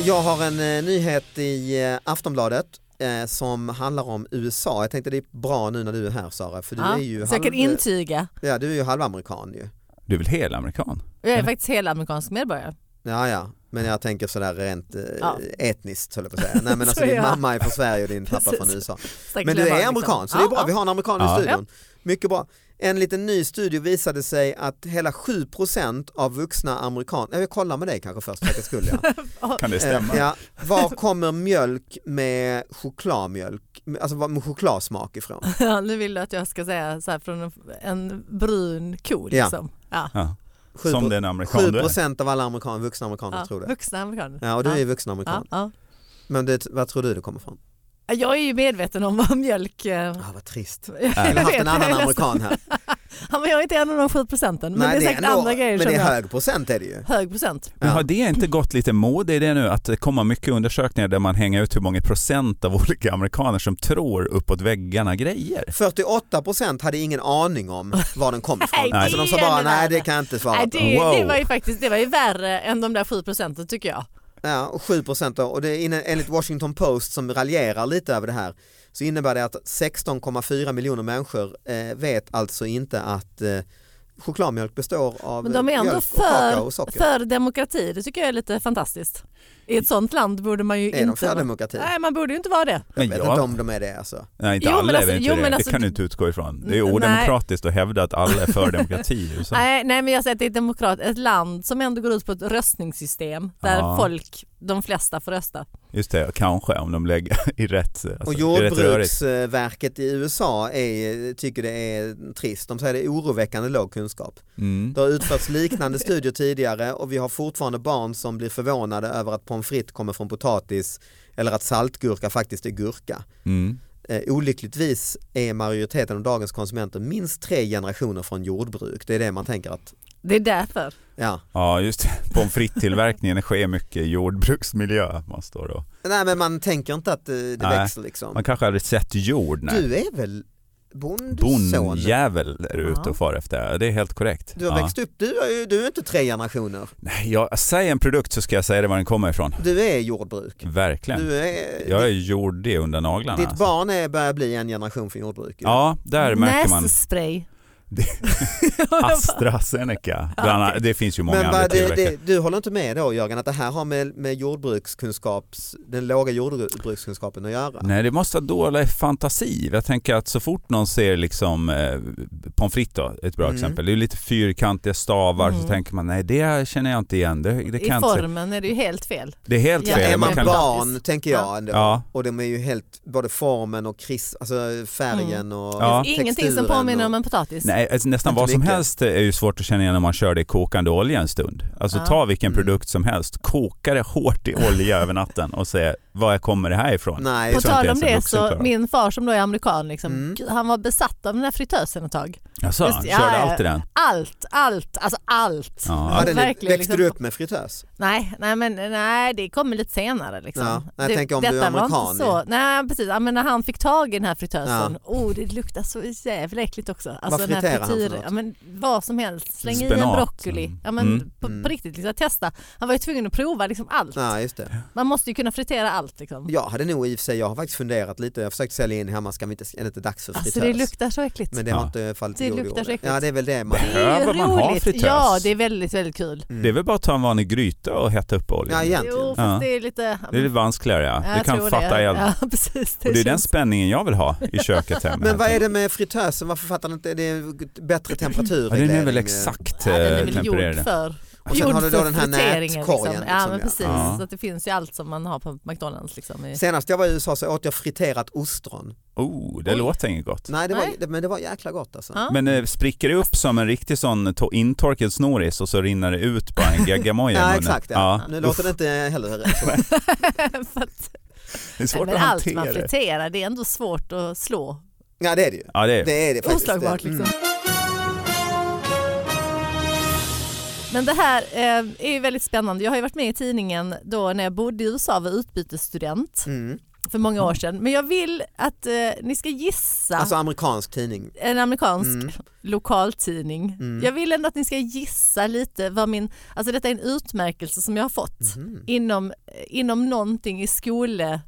[SPEAKER 2] Jag har en eh, nyhet i eh, Aftonbladet eh, som handlar om USA. Jag tänkte det är bra nu när du är här Sara, för du
[SPEAKER 3] Ja,
[SPEAKER 2] är ju
[SPEAKER 3] så jag kan intyga.
[SPEAKER 2] ja, du är ju halvamerikan ju.
[SPEAKER 4] Du är väl helamerikan?
[SPEAKER 3] Jag är
[SPEAKER 4] Eller?
[SPEAKER 3] faktiskt hela amerikansk medborgare.
[SPEAKER 2] Ja, ja. Men jag tänker sådär rent eh,
[SPEAKER 3] Ja.
[SPEAKER 2] etniskt höll jag på att säga. Nej men alltså
[SPEAKER 3] Så
[SPEAKER 2] din
[SPEAKER 3] ja.
[SPEAKER 2] mamma är från Sverige och din pappa från
[SPEAKER 3] Precis.
[SPEAKER 2] USA.
[SPEAKER 3] Stackars
[SPEAKER 2] Men du
[SPEAKER 3] lilla barn,
[SPEAKER 2] är
[SPEAKER 3] liksom.
[SPEAKER 2] amerikan, så det är
[SPEAKER 3] Ja,
[SPEAKER 2] bra. Vi har en amerikan i
[SPEAKER 4] Ja.
[SPEAKER 2] studion. Mycket bra. En liten ny studie visade sig att hela 7% av vuxna amerikaner, jag kollar med dig kanske först för säkerhets skull. Ja.
[SPEAKER 4] Kan det
[SPEAKER 2] Eh,
[SPEAKER 4] stämma?
[SPEAKER 2] ja. Var kommer mjölk med chokladmjölk, alltså vad- med chokladsmak ifrån?
[SPEAKER 3] Ja, nu vill du att jag ska säga så här från en, en brun ko
[SPEAKER 2] Ja.
[SPEAKER 3] liksom. Ja.
[SPEAKER 4] Ja.
[SPEAKER 2] 7%,
[SPEAKER 4] Som den amerikan du är.
[SPEAKER 2] 7% av alla amerikaner, vuxna amerikaner
[SPEAKER 3] Ja.
[SPEAKER 2] tror det.
[SPEAKER 3] Vuxna amerikaner.
[SPEAKER 2] Ja, och du är ju vuxen
[SPEAKER 3] ja.
[SPEAKER 2] amerikan.
[SPEAKER 3] Ja.
[SPEAKER 2] Men du, vad tror du det kommer ifrån?
[SPEAKER 3] Ja. Jag är ju medveten om vad mjölk... eh,
[SPEAKER 2] Ah, vad trist.
[SPEAKER 3] Jag
[SPEAKER 2] Vi har haft
[SPEAKER 3] vet,
[SPEAKER 2] en
[SPEAKER 3] jag är
[SPEAKER 2] annan
[SPEAKER 3] ledsen.
[SPEAKER 2] amerikan här.
[SPEAKER 3] Ja, men jag är inte en av de sju procenten. Men det är säkert
[SPEAKER 2] ändå-
[SPEAKER 3] andra grejer
[SPEAKER 2] Men
[SPEAKER 3] som
[SPEAKER 2] det är
[SPEAKER 3] jag...
[SPEAKER 2] hög procent är det ju.
[SPEAKER 3] Hög procent.
[SPEAKER 4] Men har
[SPEAKER 2] Ja.
[SPEAKER 4] det inte gått lite mode i det nu att det kommer mycket undersökningar där man hänger ut hur många procent av olika amerikaner som tror uppåt väggarna grejer?
[SPEAKER 2] 48 procent hade ingen aning om var den kom ifrån.
[SPEAKER 3] Nej,
[SPEAKER 2] alltså de sa
[SPEAKER 3] det är
[SPEAKER 2] bara
[SPEAKER 3] ännu
[SPEAKER 2] nej det
[SPEAKER 3] värre.
[SPEAKER 2] kan jag inte svara
[SPEAKER 3] Nej,
[SPEAKER 2] på.
[SPEAKER 3] det, det
[SPEAKER 4] Wow.
[SPEAKER 3] var ju faktiskt det var ju värre än de där sju procenten tycker jag.
[SPEAKER 2] Ja, och 7 procent då, och det är inne- enligt Washington Post som raljerar lite över det här så innebär det att 16,4 miljoner människor eh, vet alltså inte att eh, chokladmjölk består av
[SPEAKER 3] Men de är
[SPEAKER 2] eh,
[SPEAKER 3] ändå
[SPEAKER 2] mjölk och kakao
[SPEAKER 3] för,
[SPEAKER 2] och socker.
[SPEAKER 3] för demokrati. Det tycker jag är lite fantastiskt. I ett sånt land borde man ju
[SPEAKER 2] är de
[SPEAKER 3] inte
[SPEAKER 2] för
[SPEAKER 3] vara-
[SPEAKER 2] demokrati?
[SPEAKER 3] Nej, man borde ju inte vara det.
[SPEAKER 2] Jag
[SPEAKER 4] Men
[SPEAKER 2] vet
[SPEAKER 4] jag-
[SPEAKER 2] inte om de är det alltså.
[SPEAKER 4] Nej, inte
[SPEAKER 3] Jo, men
[SPEAKER 4] alla
[SPEAKER 3] alltså-
[SPEAKER 4] är väl inte
[SPEAKER 3] jo,
[SPEAKER 4] det.
[SPEAKER 3] men alltså-
[SPEAKER 4] det kan du inte utgå ifrån. Det är
[SPEAKER 3] Nej.
[SPEAKER 4] odemokratiskt att hävda att alla är för demokrati i USA.
[SPEAKER 3] Nej, nej, men jag säger att det är ett demokrat, ett land som ändå går ut på ett röstningssystem där
[SPEAKER 4] Ja.
[SPEAKER 3] folk, de flesta får rösta.
[SPEAKER 4] Just det, och kanske om de lägger i rätt... Alltså,
[SPEAKER 2] Och
[SPEAKER 4] i rätt rörigt.
[SPEAKER 2] Jordbruksverket i USA är, tycker det är trist. De säger det är oroväckande låg kunskap.
[SPEAKER 4] Mm.
[SPEAKER 2] Det har utförts liknande studier tidigare och vi har fortfarande barn som blir förvånade över att pommes frites kommer från potatis eller att saltgurka faktiskt är gurka.
[SPEAKER 4] Mm.
[SPEAKER 2] Eh, olyckligtvis är majoriteten av dagens konsumenter minst tre generationer från jordbruk. Det är det man tänker att,
[SPEAKER 3] Det är därför.
[SPEAKER 2] ja.
[SPEAKER 4] Ja, just det. Pommes frites-tillverkningen sker mycket i jordbruksmiljö. Man, står och,
[SPEAKER 2] Nej men man tänker inte att eh, det
[SPEAKER 4] Nej.
[SPEAKER 2] växer liksom.
[SPEAKER 4] man kanske aldrig sett jord. Nej.
[SPEAKER 2] Du är väl bondeson?
[SPEAKER 4] Bondjävel är du ute
[SPEAKER 3] Ja.
[SPEAKER 4] och far efter. Det är helt korrekt.
[SPEAKER 2] Du har
[SPEAKER 4] Ja.
[SPEAKER 2] växt upp, du är, ju- du är inte tre generationer.
[SPEAKER 4] Nej, jag, säg en produkt så ska jag säga det var den kommer ifrån.
[SPEAKER 2] Du är jordbruk.
[SPEAKER 4] Verkligen.
[SPEAKER 2] Du är,
[SPEAKER 4] Jag är jordig under naglarna.
[SPEAKER 2] ditt
[SPEAKER 4] alltså.
[SPEAKER 2] barn är, börjar bli en generation från jordbruk. ju.
[SPEAKER 4] Ja, där märker man.
[SPEAKER 3] Nässpray.
[SPEAKER 4] AstraZeneca. Bland annat, det finns ju många
[SPEAKER 2] Men
[SPEAKER 4] andra
[SPEAKER 2] vad, det,
[SPEAKER 4] tillverkare.
[SPEAKER 2] det, du håller inte med då Jörgen att det här har med, med jordbrukskunskaps, den låga jordbrukskunskapen att göra?
[SPEAKER 4] Nej, det måste vara dålig fantasi. Jag tänker att så fort någon ser liksom eh, pommes frites då, ett bra
[SPEAKER 2] Mm.
[SPEAKER 4] exempel. Det är lite fyrkantiga stavar så
[SPEAKER 3] Mm.
[SPEAKER 4] tänker man nej det känner jag inte igen. Det, det,
[SPEAKER 3] I
[SPEAKER 4] kan jag inte.
[SPEAKER 3] formen är det ju helt fel.
[SPEAKER 4] det är helt
[SPEAKER 3] Ja,
[SPEAKER 2] är
[SPEAKER 4] fel.
[SPEAKER 2] man
[SPEAKER 4] Man kan,
[SPEAKER 3] bara-
[SPEAKER 2] barn tänker jag ändå.
[SPEAKER 4] ja,
[SPEAKER 2] Och de är ju helt, både formen och kris, alltså färgen och
[SPEAKER 4] Ja.
[SPEAKER 2] texturen.
[SPEAKER 3] Ingenting som påminner om en potatis.
[SPEAKER 4] nej, alltså, nästan
[SPEAKER 2] Inte
[SPEAKER 4] vad som
[SPEAKER 2] mycket.
[SPEAKER 4] helst är ju svårt att känna igen om man kör det i kokande olja en stund. Alltså
[SPEAKER 3] Ja.
[SPEAKER 4] ta vilken
[SPEAKER 2] Mm.
[SPEAKER 4] produkt som helst, koka det hårt i olja över natten och se var kommer det här ifrån?
[SPEAKER 2] och... Nej,
[SPEAKER 3] På
[SPEAKER 4] tror inte
[SPEAKER 3] tal om
[SPEAKER 4] ens en
[SPEAKER 3] det
[SPEAKER 4] vuxen
[SPEAKER 3] så,
[SPEAKER 4] klarar.
[SPEAKER 3] min far som då är amerikan, liksom,
[SPEAKER 2] Mm.
[SPEAKER 3] gud, han var besatt av den här fritösen ett tag.
[SPEAKER 4] Jaså,
[SPEAKER 3] Just-
[SPEAKER 4] körde
[SPEAKER 3] ja, ja.
[SPEAKER 4] alltid den?
[SPEAKER 3] Allt, allt, alltså allt.
[SPEAKER 4] Ja.
[SPEAKER 2] ja, den är, växte
[SPEAKER 3] verkligen,
[SPEAKER 2] du
[SPEAKER 3] liksom.
[SPEAKER 2] upp med fritös?
[SPEAKER 3] Nej, nej, men, nej, det kommer lite senare. Liksom.
[SPEAKER 2] Ja, jag
[SPEAKER 3] Det-
[SPEAKER 2] tänker om du
[SPEAKER 3] detta
[SPEAKER 2] är
[SPEAKER 3] var inte
[SPEAKER 2] amerikan,
[SPEAKER 3] Så, nej, precis. Ja, men när han fick tag i den här fritösen, oh, det luktar så jävla äckligt också. Alltså, den här
[SPEAKER 2] friterar han för något?
[SPEAKER 3] ja, men, Vad som helst, släng i en
[SPEAKER 4] Spenat.
[SPEAKER 3] broccoli.
[SPEAKER 4] Mm.
[SPEAKER 3] Ja, men,
[SPEAKER 4] Mm.
[SPEAKER 3] På,
[SPEAKER 2] Mm.
[SPEAKER 3] på riktigt, liksom, testa. Han var ju tvungen att prova liksom, allt.
[SPEAKER 2] Ja, just det.
[SPEAKER 3] Man måste ju kunna fritera allt. Liksom.
[SPEAKER 2] Jag hade nog i och för sig, jag har faktiskt funderat lite, jag har försökt sälja in hemma, ska vi inte, är det inte dags för fritös?
[SPEAKER 3] Alltså det luktar så äckligt.
[SPEAKER 2] Men det har
[SPEAKER 4] Ja.
[SPEAKER 2] inte fallit
[SPEAKER 3] Det
[SPEAKER 2] i god
[SPEAKER 3] luktar
[SPEAKER 2] jord.
[SPEAKER 3] så äckligt.
[SPEAKER 2] Ja, det är väl det man...
[SPEAKER 3] Det är ju
[SPEAKER 4] Behöver man ha
[SPEAKER 3] roligt.
[SPEAKER 4] fritös?
[SPEAKER 3] Ja, det är väldigt, väldigt kul.
[SPEAKER 2] Mm.
[SPEAKER 4] Det är väl bara att ta en vanlig gryta och hetta upp oljan.
[SPEAKER 2] Ja, egentligen.
[SPEAKER 3] Jo, fast
[SPEAKER 4] Ja.
[SPEAKER 3] det är lite...
[SPEAKER 4] Det är lite vanskligare ja.
[SPEAKER 3] Ja,
[SPEAKER 4] Du
[SPEAKER 3] jag
[SPEAKER 4] kan
[SPEAKER 3] tror
[SPEAKER 4] fatta
[SPEAKER 3] det.
[SPEAKER 4] eld.
[SPEAKER 3] Ja, precis. Det
[SPEAKER 4] Och det är den
[SPEAKER 3] känns-
[SPEAKER 4] spänningen jag vill ha i köket hemma.
[SPEAKER 2] Men vad är det med fritösen, varför fattar ni inte, det är bättre
[SPEAKER 4] Ja, den
[SPEAKER 2] temperaturreglering?
[SPEAKER 4] är väl exakt
[SPEAKER 3] Ja, den är
[SPEAKER 4] eh,
[SPEAKER 3] väl gjord
[SPEAKER 4] tempererad.
[SPEAKER 3] för
[SPEAKER 2] Och sen har du då
[SPEAKER 3] för
[SPEAKER 2] den här
[SPEAKER 3] friteringen,
[SPEAKER 2] nätkorgen.
[SPEAKER 3] Liksom. Ja
[SPEAKER 2] liksom,
[SPEAKER 3] men
[SPEAKER 2] ja.
[SPEAKER 3] precis,
[SPEAKER 4] Ja.
[SPEAKER 3] så att det finns ju allt som man har på McDonalds. Liksom. i-
[SPEAKER 2] Senast jag var i USA så åt jag friterat ostron.
[SPEAKER 4] Oh, det
[SPEAKER 3] Oj.
[SPEAKER 4] låter inget gott.
[SPEAKER 2] Nej, det var,
[SPEAKER 3] Nej.
[SPEAKER 2] det- men det var jäkla gott alltså.
[SPEAKER 3] Ja.
[SPEAKER 4] Men eh, spricker det upp som en riktig sån to- intorkad snoris och så rinner det ut bara en gagamoja i
[SPEAKER 2] Ja
[SPEAKER 4] munnen?
[SPEAKER 2] exakt, ja. nu låter det
[SPEAKER 4] Uff,
[SPEAKER 2] inte heller så.
[SPEAKER 3] För att,
[SPEAKER 4] det är svårt
[SPEAKER 3] men
[SPEAKER 4] att
[SPEAKER 3] allt man
[SPEAKER 4] hantera.
[SPEAKER 3] friterar det är ändå svårt att slå.
[SPEAKER 2] Ja det är det ju.
[SPEAKER 4] Ja, det är,
[SPEAKER 2] Det är det faktiskt.
[SPEAKER 3] Oslagbart
[SPEAKER 2] Mm.
[SPEAKER 3] liksom. Men det här eh, är ju väldigt spännande. Jag har ju varit med i tidningen då när jag bodde i USA var utbytesstudent
[SPEAKER 2] Mm.
[SPEAKER 3] för många år sedan. Men jag vill att eh, ni ska gissa
[SPEAKER 2] Alltså amerikansk tidning.
[SPEAKER 3] en amerikansk
[SPEAKER 2] Mm.
[SPEAKER 3] lokaltidning. Jag vill ändå att ni ska gissa lite vad min, alltså detta är en utmärkelse som jag har fått
[SPEAKER 2] Mhm.
[SPEAKER 3] inom, eh, inom någonting i, skole,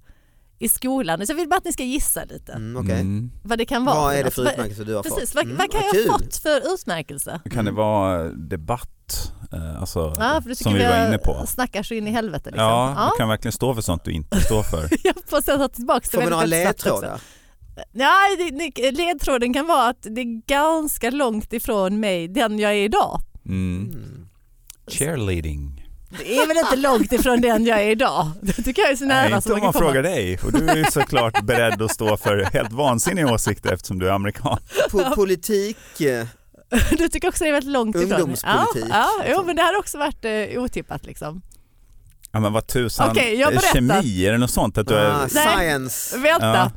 [SPEAKER 3] i skolan. Så jag vill bara att ni ska gissa lite
[SPEAKER 2] Mm, okej.
[SPEAKER 4] Mm.
[SPEAKER 3] vad det kan vara.
[SPEAKER 2] Vad är det
[SPEAKER 3] något.
[SPEAKER 2] för
[SPEAKER 3] Vad-
[SPEAKER 2] utmärkelse du har fått?
[SPEAKER 3] Precis, vad,
[SPEAKER 2] Mm,
[SPEAKER 3] vad kan jag
[SPEAKER 2] kul.
[SPEAKER 3] ha fått för utmärkelse?
[SPEAKER 4] Kan
[SPEAKER 2] Mm.
[SPEAKER 4] det vara debatt, eh, alltså,
[SPEAKER 3] Ja, för du tycker
[SPEAKER 4] som vi var inne på?
[SPEAKER 3] snackar så in i helvete. Liksom.
[SPEAKER 4] Ja,
[SPEAKER 3] Ja,
[SPEAKER 4] du kan verkligen stå för sånt du inte står för.
[SPEAKER 3] Jag hoppas jag tar tillbaka det
[SPEAKER 2] Får vi
[SPEAKER 3] väldigt, alltså.
[SPEAKER 2] några
[SPEAKER 3] väldigt snabbt också.
[SPEAKER 2] ledtrådar?
[SPEAKER 3] Ja, det, det, ledtråden kan vara att det är ganska långt ifrån mig, den jag är idag.
[SPEAKER 4] Mm.
[SPEAKER 2] Mm.
[SPEAKER 4] Cheerleading.
[SPEAKER 3] Det är väl inte långt ifrån den jag är idag. Det tycker jag är så nära
[SPEAKER 4] Nej,
[SPEAKER 3] som
[SPEAKER 4] inte om
[SPEAKER 3] man
[SPEAKER 4] man
[SPEAKER 3] alltså, kan komma.
[SPEAKER 4] frågar dig. Och du är ju såklart beredd att stå för helt vansinniga åsikter eftersom du är amerikan.
[SPEAKER 2] Po- politik, eh,
[SPEAKER 3] Du tycker också det är väldigt långt ifrån.
[SPEAKER 2] Ungdomspolitik,
[SPEAKER 3] Ja, ja jo,
[SPEAKER 2] liksom.
[SPEAKER 3] men det hade också varit eh, otippat liksom.
[SPEAKER 4] Ja men vad tusan, eh,
[SPEAKER 3] Okej, jag berättar.
[SPEAKER 4] kemi, är det något sånt? Att du
[SPEAKER 2] ah,
[SPEAKER 4] är...
[SPEAKER 2] science.
[SPEAKER 3] Vänta.
[SPEAKER 4] Ja.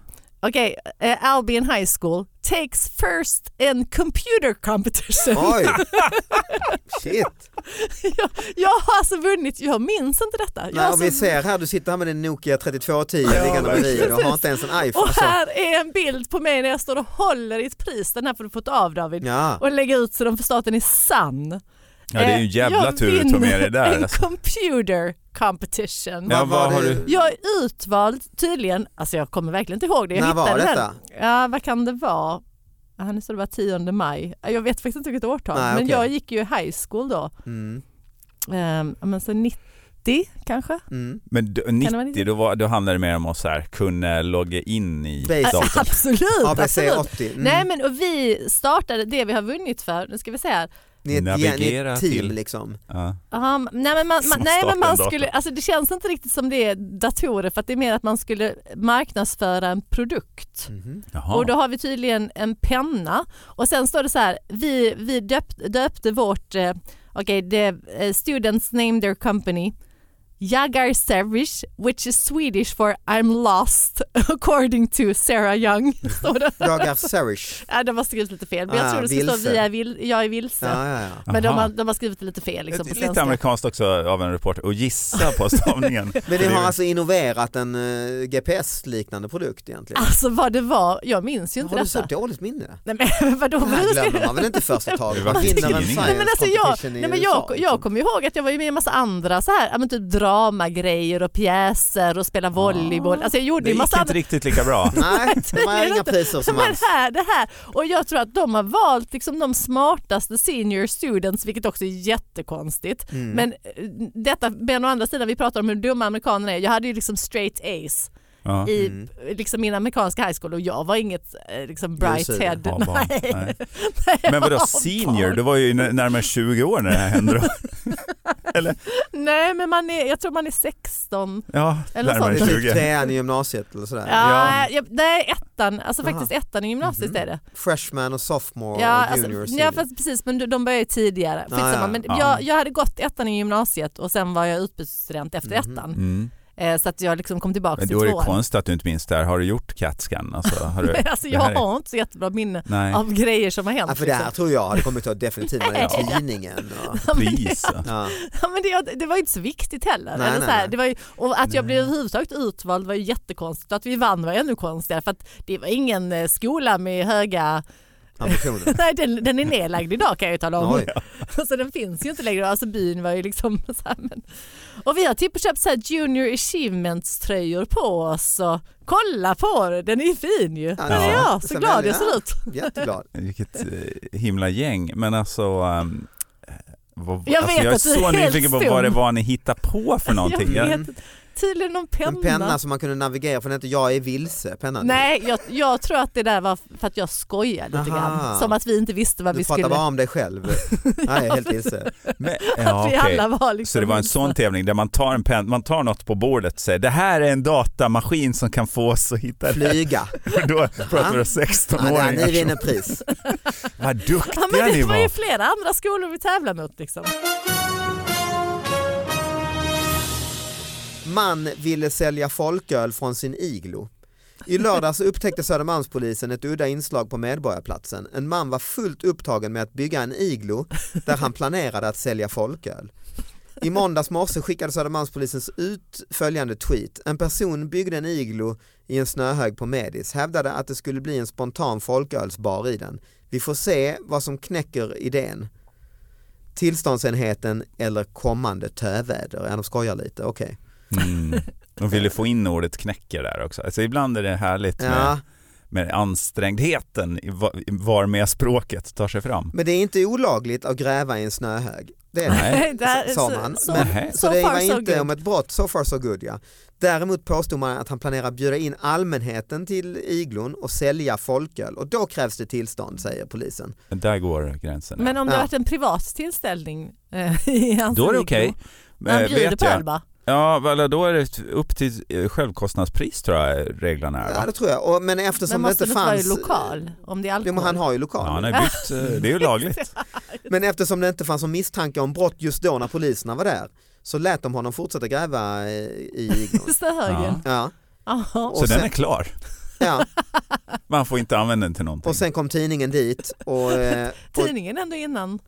[SPEAKER 3] Okej, eh, Albion High School takes first in computer competition.
[SPEAKER 2] Oj, shit.
[SPEAKER 3] jag, jag har alltså vunnit, jag minns inte detta. Jag har
[SPEAKER 2] Nej, och vi
[SPEAKER 3] alltså
[SPEAKER 2] ser här, du sitter här med din Nokia 3210
[SPEAKER 4] Ja,
[SPEAKER 2] liggande bredvid och
[SPEAKER 3] precis.
[SPEAKER 2] har inte ens en iPhone.
[SPEAKER 3] Och
[SPEAKER 2] Alltså.
[SPEAKER 3] här är en bild på mig när jag står och håller i ett pris. Den här får du fota av David.
[SPEAKER 2] Ja.
[SPEAKER 3] Och lägga ut så de förstår att den är sann.
[SPEAKER 4] Ja det är ju en jävla
[SPEAKER 3] eh, jag
[SPEAKER 4] tur du tog med dig
[SPEAKER 3] vinner
[SPEAKER 4] där.
[SPEAKER 3] En
[SPEAKER 4] Alltså.
[SPEAKER 3] computer competition.
[SPEAKER 4] Ja,
[SPEAKER 2] Vad var
[SPEAKER 4] vad har
[SPEAKER 2] det-
[SPEAKER 4] du-
[SPEAKER 3] Jag är utvald tydligen, alltså jag kommer verkligen inte ihåg det. Jag
[SPEAKER 2] När var
[SPEAKER 3] hittade
[SPEAKER 2] detta?
[SPEAKER 3] Den. Ja, vad kan det vara? Ja, nu står det bara 10 maj. Jag vet faktiskt inte vilket årtal,
[SPEAKER 2] Nej,
[SPEAKER 3] men
[SPEAKER 2] okej.
[SPEAKER 3] jag gick ju i high school då.
[SPEAKER 2] Mm.
[SPEAKER 3] Ehm, ja, men så 90 kanske?
[SPEAKER 2] Mm.
[SPEAKER 4] Men d-
[SPEAKER 3] det vara
[SPEAKER 4] 90,
[SPEAKER 3] lite-
[SPEAKER 4] då, var, då handlade det mer om att så här, kunna logga in i
[SPEAKER 2] Basic.
[SPEAKER 4] datorn.
[SPEAKER 3] Absolut,
[SPEAKER 2] ABC
[SPEAKER 3] absolut.
[SPEAKER 2] 80. Mm.
[SPEAKER 3] Nej men och vi startade det vi har vunnit för, nu ska vi se här.
[SPEAKER 2] ni är ett, gäng- ni är
[SPEAKER 4] Navigera
[SPEAKER 2] ett team
[SPEAKER 4] till-
[SPEAKER 2] liksom.
[SPEAKER 4] Ja.
[SPEAKER 3] Aha, nej men, man,
[SPEAKER 4] Som
[SPEAKER 3] man,
[SPEAKER 4] att
[SPEAKER 3] nej,
[SPEAKER 4] starta
[SPEAKER 3] men man
[SPEAKER 4] en dator.
[SPEAKER 3] skulle, alltså det känns inte riktigt som det är datorer för att det är mer att man skulle marknadsföra en produkt.
[SPEAKER 2] Mhm.
[SPEAKER 4] Jaha.
[SPEAKER 3] Och då har vi tydligen en penna och sen står det så här, vi, vi döpt, döpte vårt, eh, okej, okay, students named their company Jagar Servish, which is Swedish for I'm lost according to Sarah Young. Står det.
[SPEAKER 2] Dagar Serish.
[SPEAKER 3] Ja, de har skrivit lite fel, men jag
[SPEAKER 2] Ah,
[SPEAKER 3] tror det ska stå
[SPEAKER 2] vilse.
[SPEAKER 3] vi är vil, jag är vilse.
[SPEAKER 2] Ja, ja, ja.
[SPEAKER 3] Men de
[SPEAKER 4] Aha.
[SPEAKER 3] har, de har skrivit det lite fel liksom, på
[SPEAKER 4] Lite
[SPEAKER 3] svenska.
[SPEAKER 4] amerikanskt också av en reporter, och gissa på stavningen.
[SPEAKER 2] Men ni
[SPEAKER 4] Det är
[SPEAKER 2] har
[SPEAKER 4] ju-
[SPEAKER 2] alltså innoverat en eh, GPS-liknande produkt egentligen?
[SPEAKER 3] Alltså vad det var, jag minns ju inte
[SPEAKER 2] Har du så
[SPEAKER 3] detta.
[SPEAKER 2] dåligt minne?
[SPEAKER 3] Nej men vadå?
[SPEAKER 2] Det här glömmer man väl inte första taget?
[SPEAKER 4] Det var
[SPEAKER 2] Man vinner en
[SPEAKER 4] tidningen.
[SPEAKER 2] science
[SPEAKER 3] Nej, men alltså jag,
[SPEAKER 2] competition i
[SPEAKER 3] nej, men
[SPEAKER 2] USA,
[SPEAKER 3] jag, jag
[SPEAKER 2] liksom.
[SPEAKER 3] kommer ju ihåg att jag var ju med i en massa andra så här, ja, men typ dra dramagrejer och pjäser och
[SPEAKER 2] Ah.
[SPEAKER 3] spela volleyboll. Alltså jag gjorde
[SPEAKER 4] Det
[SPEAKER 3] ju
[SPEAKER 4] gick
[SPEAKER 3] massa
[SPEAKER 4] inte
[SPEAKER 3] andra...
[SPEAKER 4] riktigt lika bra.
[SPEAKER 2] Nej, det var
[SPEAKER 3] tydligen
[SPEAKER 2] inga
[SPEAKER 3] inte.
[SPEAKER 2] priser som
[SPEAKER 3] Men
[SPEAKER 2] alls.
[SPEAKER 3] här, det här. Och jag tror att de har valt liksom de smartaste senior students, vilket också är jättekonstigt.
[SPEAKER 2] Mm.
[SPEAKER 3] Men eh, detta, men å andra sidan, vi pratar om hur dumma amerikanerna är. Jag hade ju liksom straight A's
[SPEAKER 4] Ja.
[SPEAKER 3] i eh, liksom min amerikanska high school och jag var inget eh, liksom bright
[SPEAKER 2] Ljusögon.
[SPEAKER 3] head.
[SPEAKER 4] Ja, barn. Nej.
[SPEAKER 3] Nej, jag
[SPEAKER 4] Men vadå
[SPEAKER 3] var
[SPEAKER 4] senior?
[SPEAKER 3] barn.
[SPEAKER 4] Du var ju n- närmare 20 år när det här hände. då.
[SPEAKER 3] Nej, men man är, jag tror man är 16.
[SPEAKER 4] Ja,
[SPEAKER 3] Eller så.
[SPEAKER 4] närmare
[SPEAKER 2] Det är typ
[SPEAKER 4] 20.
[SPEAKER 2] trän i gymnasiet eller sådär.
[SPEAKER 3] Ja, jag, nej, ettan, alltså
[SPEAKER 2] Aha.
[SPEAKER 3] faktiskt ettan i gymnasiet
[SPEAKER 4] Mhm.
[SPEAKER 3] är det.
[SPEAKER 2] Freshman och sophomore
[SPEAKER 3] Ja,
[SPEAKER 2] och
[SPEAKER 3] alltså,
[SPEAKER 2] junior och
[SPEAKER 3] ja
[SPEAKER 2] senior.
[SPEAKER 3] fast precis, men de- de börjar ju tidigare. Skitsamma,
[SPEAKER 2] ja.
[SPEAKER 3] Men
[SPEAKER 4] Ah, Ja.
[SPEAKER 3] jag, jag hade gått ettan i gymnasiet och sen var jag utbytesstudent efter
[SPEAKER 2] Mhm.
[SPEAKER 3] ettan.
[SPEAKER 4] Mm.
[SPEAKER 3] Eh, så att jag liksom kom tillbaka
[SPEAKER 4] Men
[SPEAKER 3] till
[SPEAKER 4] då är det
[SPEAKER 3] tvåan.
[SPEAKER 4] konstigt att du inte minns det här. Har du gjort CAT-scan? Alltså, har du...
[SPEAKER 3] Men alltså,
[SPEAKER 4] det
[SPEAKER 3] jag
[SPEAKER 4] här är-
[SPEAKER 3] har inte så jättebra minne
[SPEAKER 4] Nej,
[SPEAKER 3] av grejer som har hänt.
[SPEAKER 2] Ja, för det här
[SPEAKER 3] liksom.
[SPEAKER 2] tror jag hade kommit att definitivt vara i
[SPEAKER 3] Nej.
[SPEAKER 2] tidningen. Och,
[SPEAKER 4] pris.
[SPEAKER 2] ja.
[SPEAKER 3] ja, men det, det var ju inte så viktigt heller.
[SPEAKER 2] Nej,
[SPEAKER 3] Eller
[SPEAKER 2] nej,
[SPEAKER 3] så här,
[SPEAKER 2] nej.
[SPEAKER 3] det var ju, och att jag blev överhuvudtaget utvald var ju jättekonstigt och att vi vann var ännu konstigare för att det var ingen eh, skola med höga...
[SPEAKER 2] Ambitioner.
[SPEAKER 3] Nej, den, den är nedlagd idag kan jag ju tala om.
[SPEAKER 2] Oj.
[SPEAKER 3] Alltså den finns ju inte längre. Alltså byn var ju liksom så här, men... Och vi har typ köpt så här junior achievements tröjor på oss och kolla på den, den är ju fin ju.
[SPEAKER 2] Ja,
[SPEAKER 3] Där är
[SPEAKER 2] ja.
[SPEAKER 3] jag, så
[SPEAKER 2] Sen
[SPEAKER 3] glad
[SPEAKER 2] är
[SPEAKER 3] jag
[SPEAKER 2] det-
[SPEAKER 3] ser ut.
[SPEAKER 2] Jätteglad.
[SPEAKER 4] vilket eh, himla gäng. Men alltså, ehm, vad,
[SPEAKER 3] Jag
[SPEAKER 4] alltså
[SPEAKER 3] vet
[SPEAKER 4] jag är
[SPEAKER 3] att du är
[SPEAKER 4] så
[SPEAKER 3] helt
[SPEAKER 4] nyfiken på vad det
[SPEAKER 3] stum.
[SPEAKER 4] var ni hittade på för någonting.
[SPEAKER 3] Jag
[SPEAKER 4] Jag,
[SPEAKER 3] vet, inte. tydligen någon penna.
[SPEAKER 2] En penna som man kunde navigera för den hette Jag är vilse. Pennan.
[SPEAKER 3] Nej, jag, jag tror att det där var för att jag skojade lite
[SPEAKER 2] Aha.
[SPEAKER 3] grann. Som att vi inte visste vad
[SPEAKER 2] Du
[SPEAKER 3] vi
[SPEAKER 2] pratar
[SPEAKER 3] skulle...
[SPEAKER 2] bara om dig själv. Nej, helt vilse.
[SPEAKER 4] men,
[SPEAKER 3] Att
[SPEAKER 4] ja,
[SPEAKER 3] vi
[SPEAKER 4] okej.
[SPEAKER 3] alla var liksom
[SPEAKER 4] Så det var en sån tävling där man tar, en pen, man tar något på bordet och säger det här är en datamaskin som kan få oss att hitta det.
[SPEAKER 2] Flyga.
[SPEAKER 4] Då pratar vi om
[SPEAKER 2] Ja, där,
[SPEAKER 4] 16-åringar.
[SPEAKER 2] ni
[SPEAKER 4] som-
[SPEAKER 2] vinner pris.
[SPEAKER 3] Ja,
[SPEAKER 4] Vad duktiga
[SPEAKER 3] men
[SPEAKER 4] ni
[SPEAKER 3] det var
[SPEAKER 4] var.
[SPEAKER 3] ju flera andra skolor vi tävlade mot liksom.
[SPEAKER 2] Man ville sälja folköl från sin iglo. I lördags upptäckte Södermalmspolisen ett udda inslag på Medborgarplatsen. En man var fullt upptagen med att bygga en iglo där han planerade att sälja folköl. I måndags morse skickade Södermalmspolisen ut följande tweet. En person byggde en iglo i en snöhög på Medis, hävdade att det skulle bli en spontan folkölsbar i den. Vi får se vad som knäcker idén. Tillståndsenheten eller kommande töväder. Ja, de skojar lite, okej.
[SPEAKER 4] Mm. De ville få in ordet knäcker där också. Alltså ibland är det härligt med,
[SPEAKER 2] Ja,
[SPEAKER 4] med ansträngdheten i va- i varmed språket tar sig fram.
[SPEAKER 2] men det är inte olagligt att gräva i en snöhög. Det är det.
[SPEAKER 4] Nej.
[SPEAKER 3] Där-
[SPEAKER 2] sa man.
[SPEAKER 3] Så,
[SPEAKER 2] Men-
[SPEAKER 4] Nej.
[SPEAKER 3] så,
[SPEAKER 2] Så det
[SPEAKER 3] far
[SPEAKER 2] var
[SPEAKER 3] so
[SPEAKER 2] inte
[SPEAKER 3] good.
[SPEAKER 2] om ett brott, so far so good ja. Däremot påstod man att han planerar att bjuda in allmänheten till iglon och sälja folköl och då krävs det tillstånd säger polisen.
[SPEAKER 4] Men där går gränsen.
[SPEAKER 3] Men om det
[SPEAKER 2] Ja.
[SPEAKER 3] har varit en privat tillställning eh, i hans
[SPEAKER 4] då är det
[SPEAKER 3] iglo,
[SPEAKER 4] okej.
[SPEAKER 3] Han
[SPEAKER 4] Eh,
[SPEAKER 3] bjuder
[SPEAKER 4] vet
[SPEAKER 3] på
[SPEAKER 4] jag.
[SPEAKER 3] öl bara.
[SPEAKER 4] Ja, väl, då är det upp till eh, självkostnadspris tror jag reglerna är.
[SPEAKER 2] Ja
[SPEAKER 4] Va?
[SPEAKER 2] det tror jag, och, men eftersom det
[SPEAKER 3] Men måste
[SPEAKER 2] inte
[SPEAKER 3] det inte vara i
[SPEAKER 2] fanns...
[SPEAKER 3] lokal? Om det är
[SPEAKER 2] Jo,
[SPEAKER 3] alkohol?
[SPEAKER 2] men han har ju
[SPEAKER 4] Ja,
[SPEAKER 2] lokal.
[SPEAKER 4] han har ju byggt, eh, det är ju lagligt.
[SPEAKER 2] Men eftersom det inte fanns någon misstanke om brott just då när poliserna var där så lät de honom fortsätta gräva eh, i iglon.
[SPEAKER 3] Snöhögen.
[SPEAKER 2] Ja.
[SPEAKER 3] Ja.
[SPEAKER 4] Så
[SPEAKER 2] Och
[SPEAKER 4] den
[SPEAKER 2] sen,
[SPEAKER 4] är klar.
[SPEAKER 2] ja,
[SPEAKER 4] Man får inte använda den till någonting.
[SPEAKER 2] och sen kom tidningen dit och, eh, och
[SPEAKER 3] Tidningen ändå innan.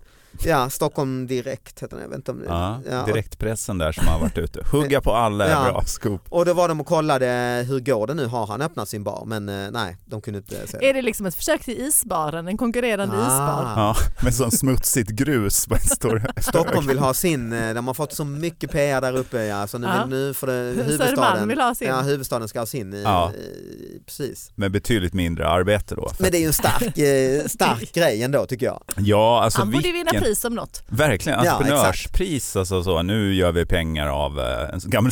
[SPEAKER 2] ja, Stockholm Direkt hette den, jag vet inte om det.
[SPEAKER 4] ja,
[SPEAKER 2] och-
[SPEAKER 4] direktpressen där som har varit ute. Hugga på alla är
[SPEAKER 2] Ja.
[SPEAKER 4] bra scoop.
[SPEAKER 2] Och då var de och kollade eh, hur går det nu, har han öppnat sin bar? Men eh, nej, de kunde inte se det.
[SPEAKER 3] Är det liksom ett försök till isbaren, en konkurrerande
[SPEAKER 2] Ah,
[SPEAKER 3] isbar?
[SPEAKER 4] Ja, med sån smutsigt grus på en stor
[SPEAKER 2] Stockholm vill ha sin, eh, de har fått så mycket PR där uppe ja, så nu,
[SPEAKER 3] Ja.
[SPEAKER 2] nu för det,
[SPEAKER 3] Södermalm Ah. vill
[SPEAKER 2] huvudstaden,
[SPEAKER 3] ha sin.
[SPEAKER 2] ja, huvudstaden ska ha sin. i-
[SPEAKER 4] Ja.
[SPEAKER 2] i- precis.
[SPEAKER 4] Med betydligt mindre arbete då.
[SPEAKER 2] Men det är ju en stark, eh, stark grej ändå tycker jag.
[SPEAKER 4] Ja, alltså
[SPEAKER 3] han borde ju vinna
[SPEAKER 4] vilken...
[SPEAKER 3] pris om något.
[SPEAKER 4] Verkligen,
[SPEAKER 2] Ja,
[SPEAKER 4] entreprenörspris alltså så. Nu gör vi pengar av eh, en gammal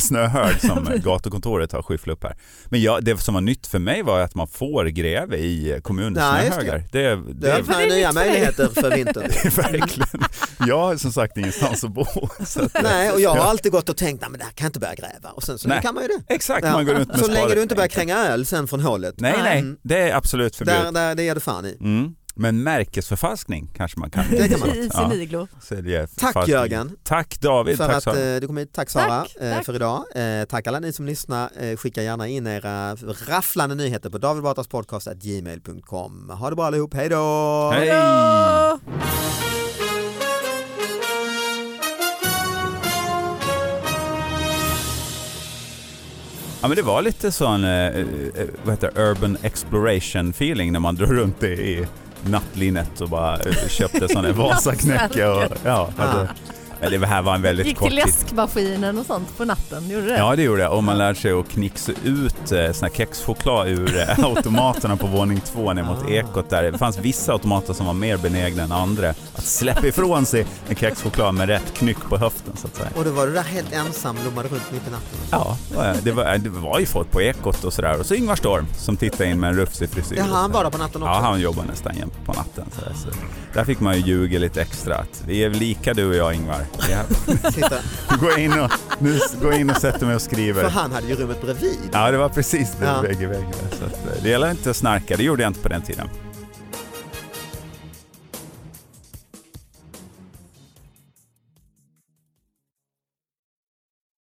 [SPEAKER 4] snöhög som gatukontoret har skyfflat upp här. Men ja, det som var nytt för mig var att man får gräva i kommunens
[SPEAKER 2] Nej, just det.
[SPEAKER 4] snöhögar. Det, är- det,
[SPEAKER 2] Det
[SPEAKER 4] är-
[SPEAKER 2] öppnar
[SPEAKER 3] det är
[SPEAKER 2] nya
[SPEAKER 3] nytt för dig.
[SPEAKER 2] möjligheter för vintern.
[SPEAKER 4] det är verkligen. Jag har som sagt ingenstans att bo. Så att, eh,
[SPEAKER 2] Nej, och jag har alltid gått och tänkt, "Nej, men där kan jag inte börja gräva. Och sen så nu
[SPEAKER 4] Nej.
[SPEAKER 2] kan man ju det.
[SPEAKER 4] Exakt,
[SPEAKER 2] Ja.
[SPEAKER 4] man går runt med
[SPEAKER 2] Så länge
[SPEAKER 4] spaden.
[SPEAKER 2] du inte börjar kränga öl sen från hålet.
[SPEAKER 4] Nej, nej,
[SPEAKER 2] Mm.
[SPEAKER 4] det är absolut
[SPEAKER 2] Där,
[SPEAKER 4] förbjudet.
[SPEAKER 2] där, det ger du fan i.
[SPEAKER 4] Mm. Men märkesförfalskning kanske man kan.
[SPEAKER 2] Det kan man.
[SPEAKER 3] I sin
[SPEAKER 4] Ja.
[SPEAKER 3] iglo.
[SPEAKER 4] Sälja
[SPEAKER 2] Tack
[SPEAKER 4] falsk-
[SPEAKER 2] Jörgen.
[SPEAKER 4] Tack David.
[SPEAKER 2] för
[SPEAKER 4] tack
[SPEAKER 2] att
[SPEAKER 4] Sara.
[SPEAKER 2] eh, du kom hit. Tack Sara
[SPEAKER 3] Tack,
[SPEAKER 2] eh,
[SPEAKER 3] tack.
[SPEAKER 2] för idag. Eh, Tack alla ni som lyssnar. Eh, Skicka gärna in era rafflande nyheter på davidbatraspodcast.gmail.com. Ha det bra allihop, hej då!
[SPEAKER 4] Hej! Ja men det var lite sån, eh, eh, vad heter det, urban exploration feeling när man drar runt i, i nattlinnet och bara eh, köpte sån där Vasaknäcke och ja, hade Eller det här var en väldigt
[SPEAKER 3] Ah. Gick
[SPEAKER 4] kort
[SPEAKER 3] till
[SPEAKER 4] tid.
[SPEAKER 3] läskmaskinen och sånt på natten, gjorde du det?
[SPEAKER 4] Ja, det gjorde jag. Och man lärde sig att knixa ut eh, såna här kexchoklad ur eh, automaterna på våning två ner mot
[SPEAKER 2] Ah.
[SPEAKER 4] Ekot där. Det fanns vissa automater som var mer benägna än andra att släppa ifrån sig en kexchoklad med rätt knyck på höften så att säga.
[SPEAKER 2] Och då var du där helt ensam, lommade runt mitt i natten.
[SPEAKER 4] Ja, eh, det var, det var ju folk på Ekot och sådär. Och så Ingvar Storm som tittade in med en rufsig frisyr.
[SPEAKER 2] Jaha, han var där på natten också?
[SPEAKER 4] Ja, han jobbar nästan jämt på natten. Så där, så där fick man ju ljuga lite extra. Att vi är lika du och jag Ingvar. Vi har-
[SPEAKER 2] Titta,
[SPEAKER 4] Du går in och, nu s- går in och sätter mig och
[SPEAKER 2] för
[SPEAKER 4] skriver.
[SPEAKER 2] han hade ju rummet bredvid.
[SPEAKER 4] Ja, det var precis det.
[SPEAKER 2] Ja.
[SPEAKER 4] Vägg i vägg. där. Så att, eh, det gäller inte att snarka, det gjorde jag inte på den tiden.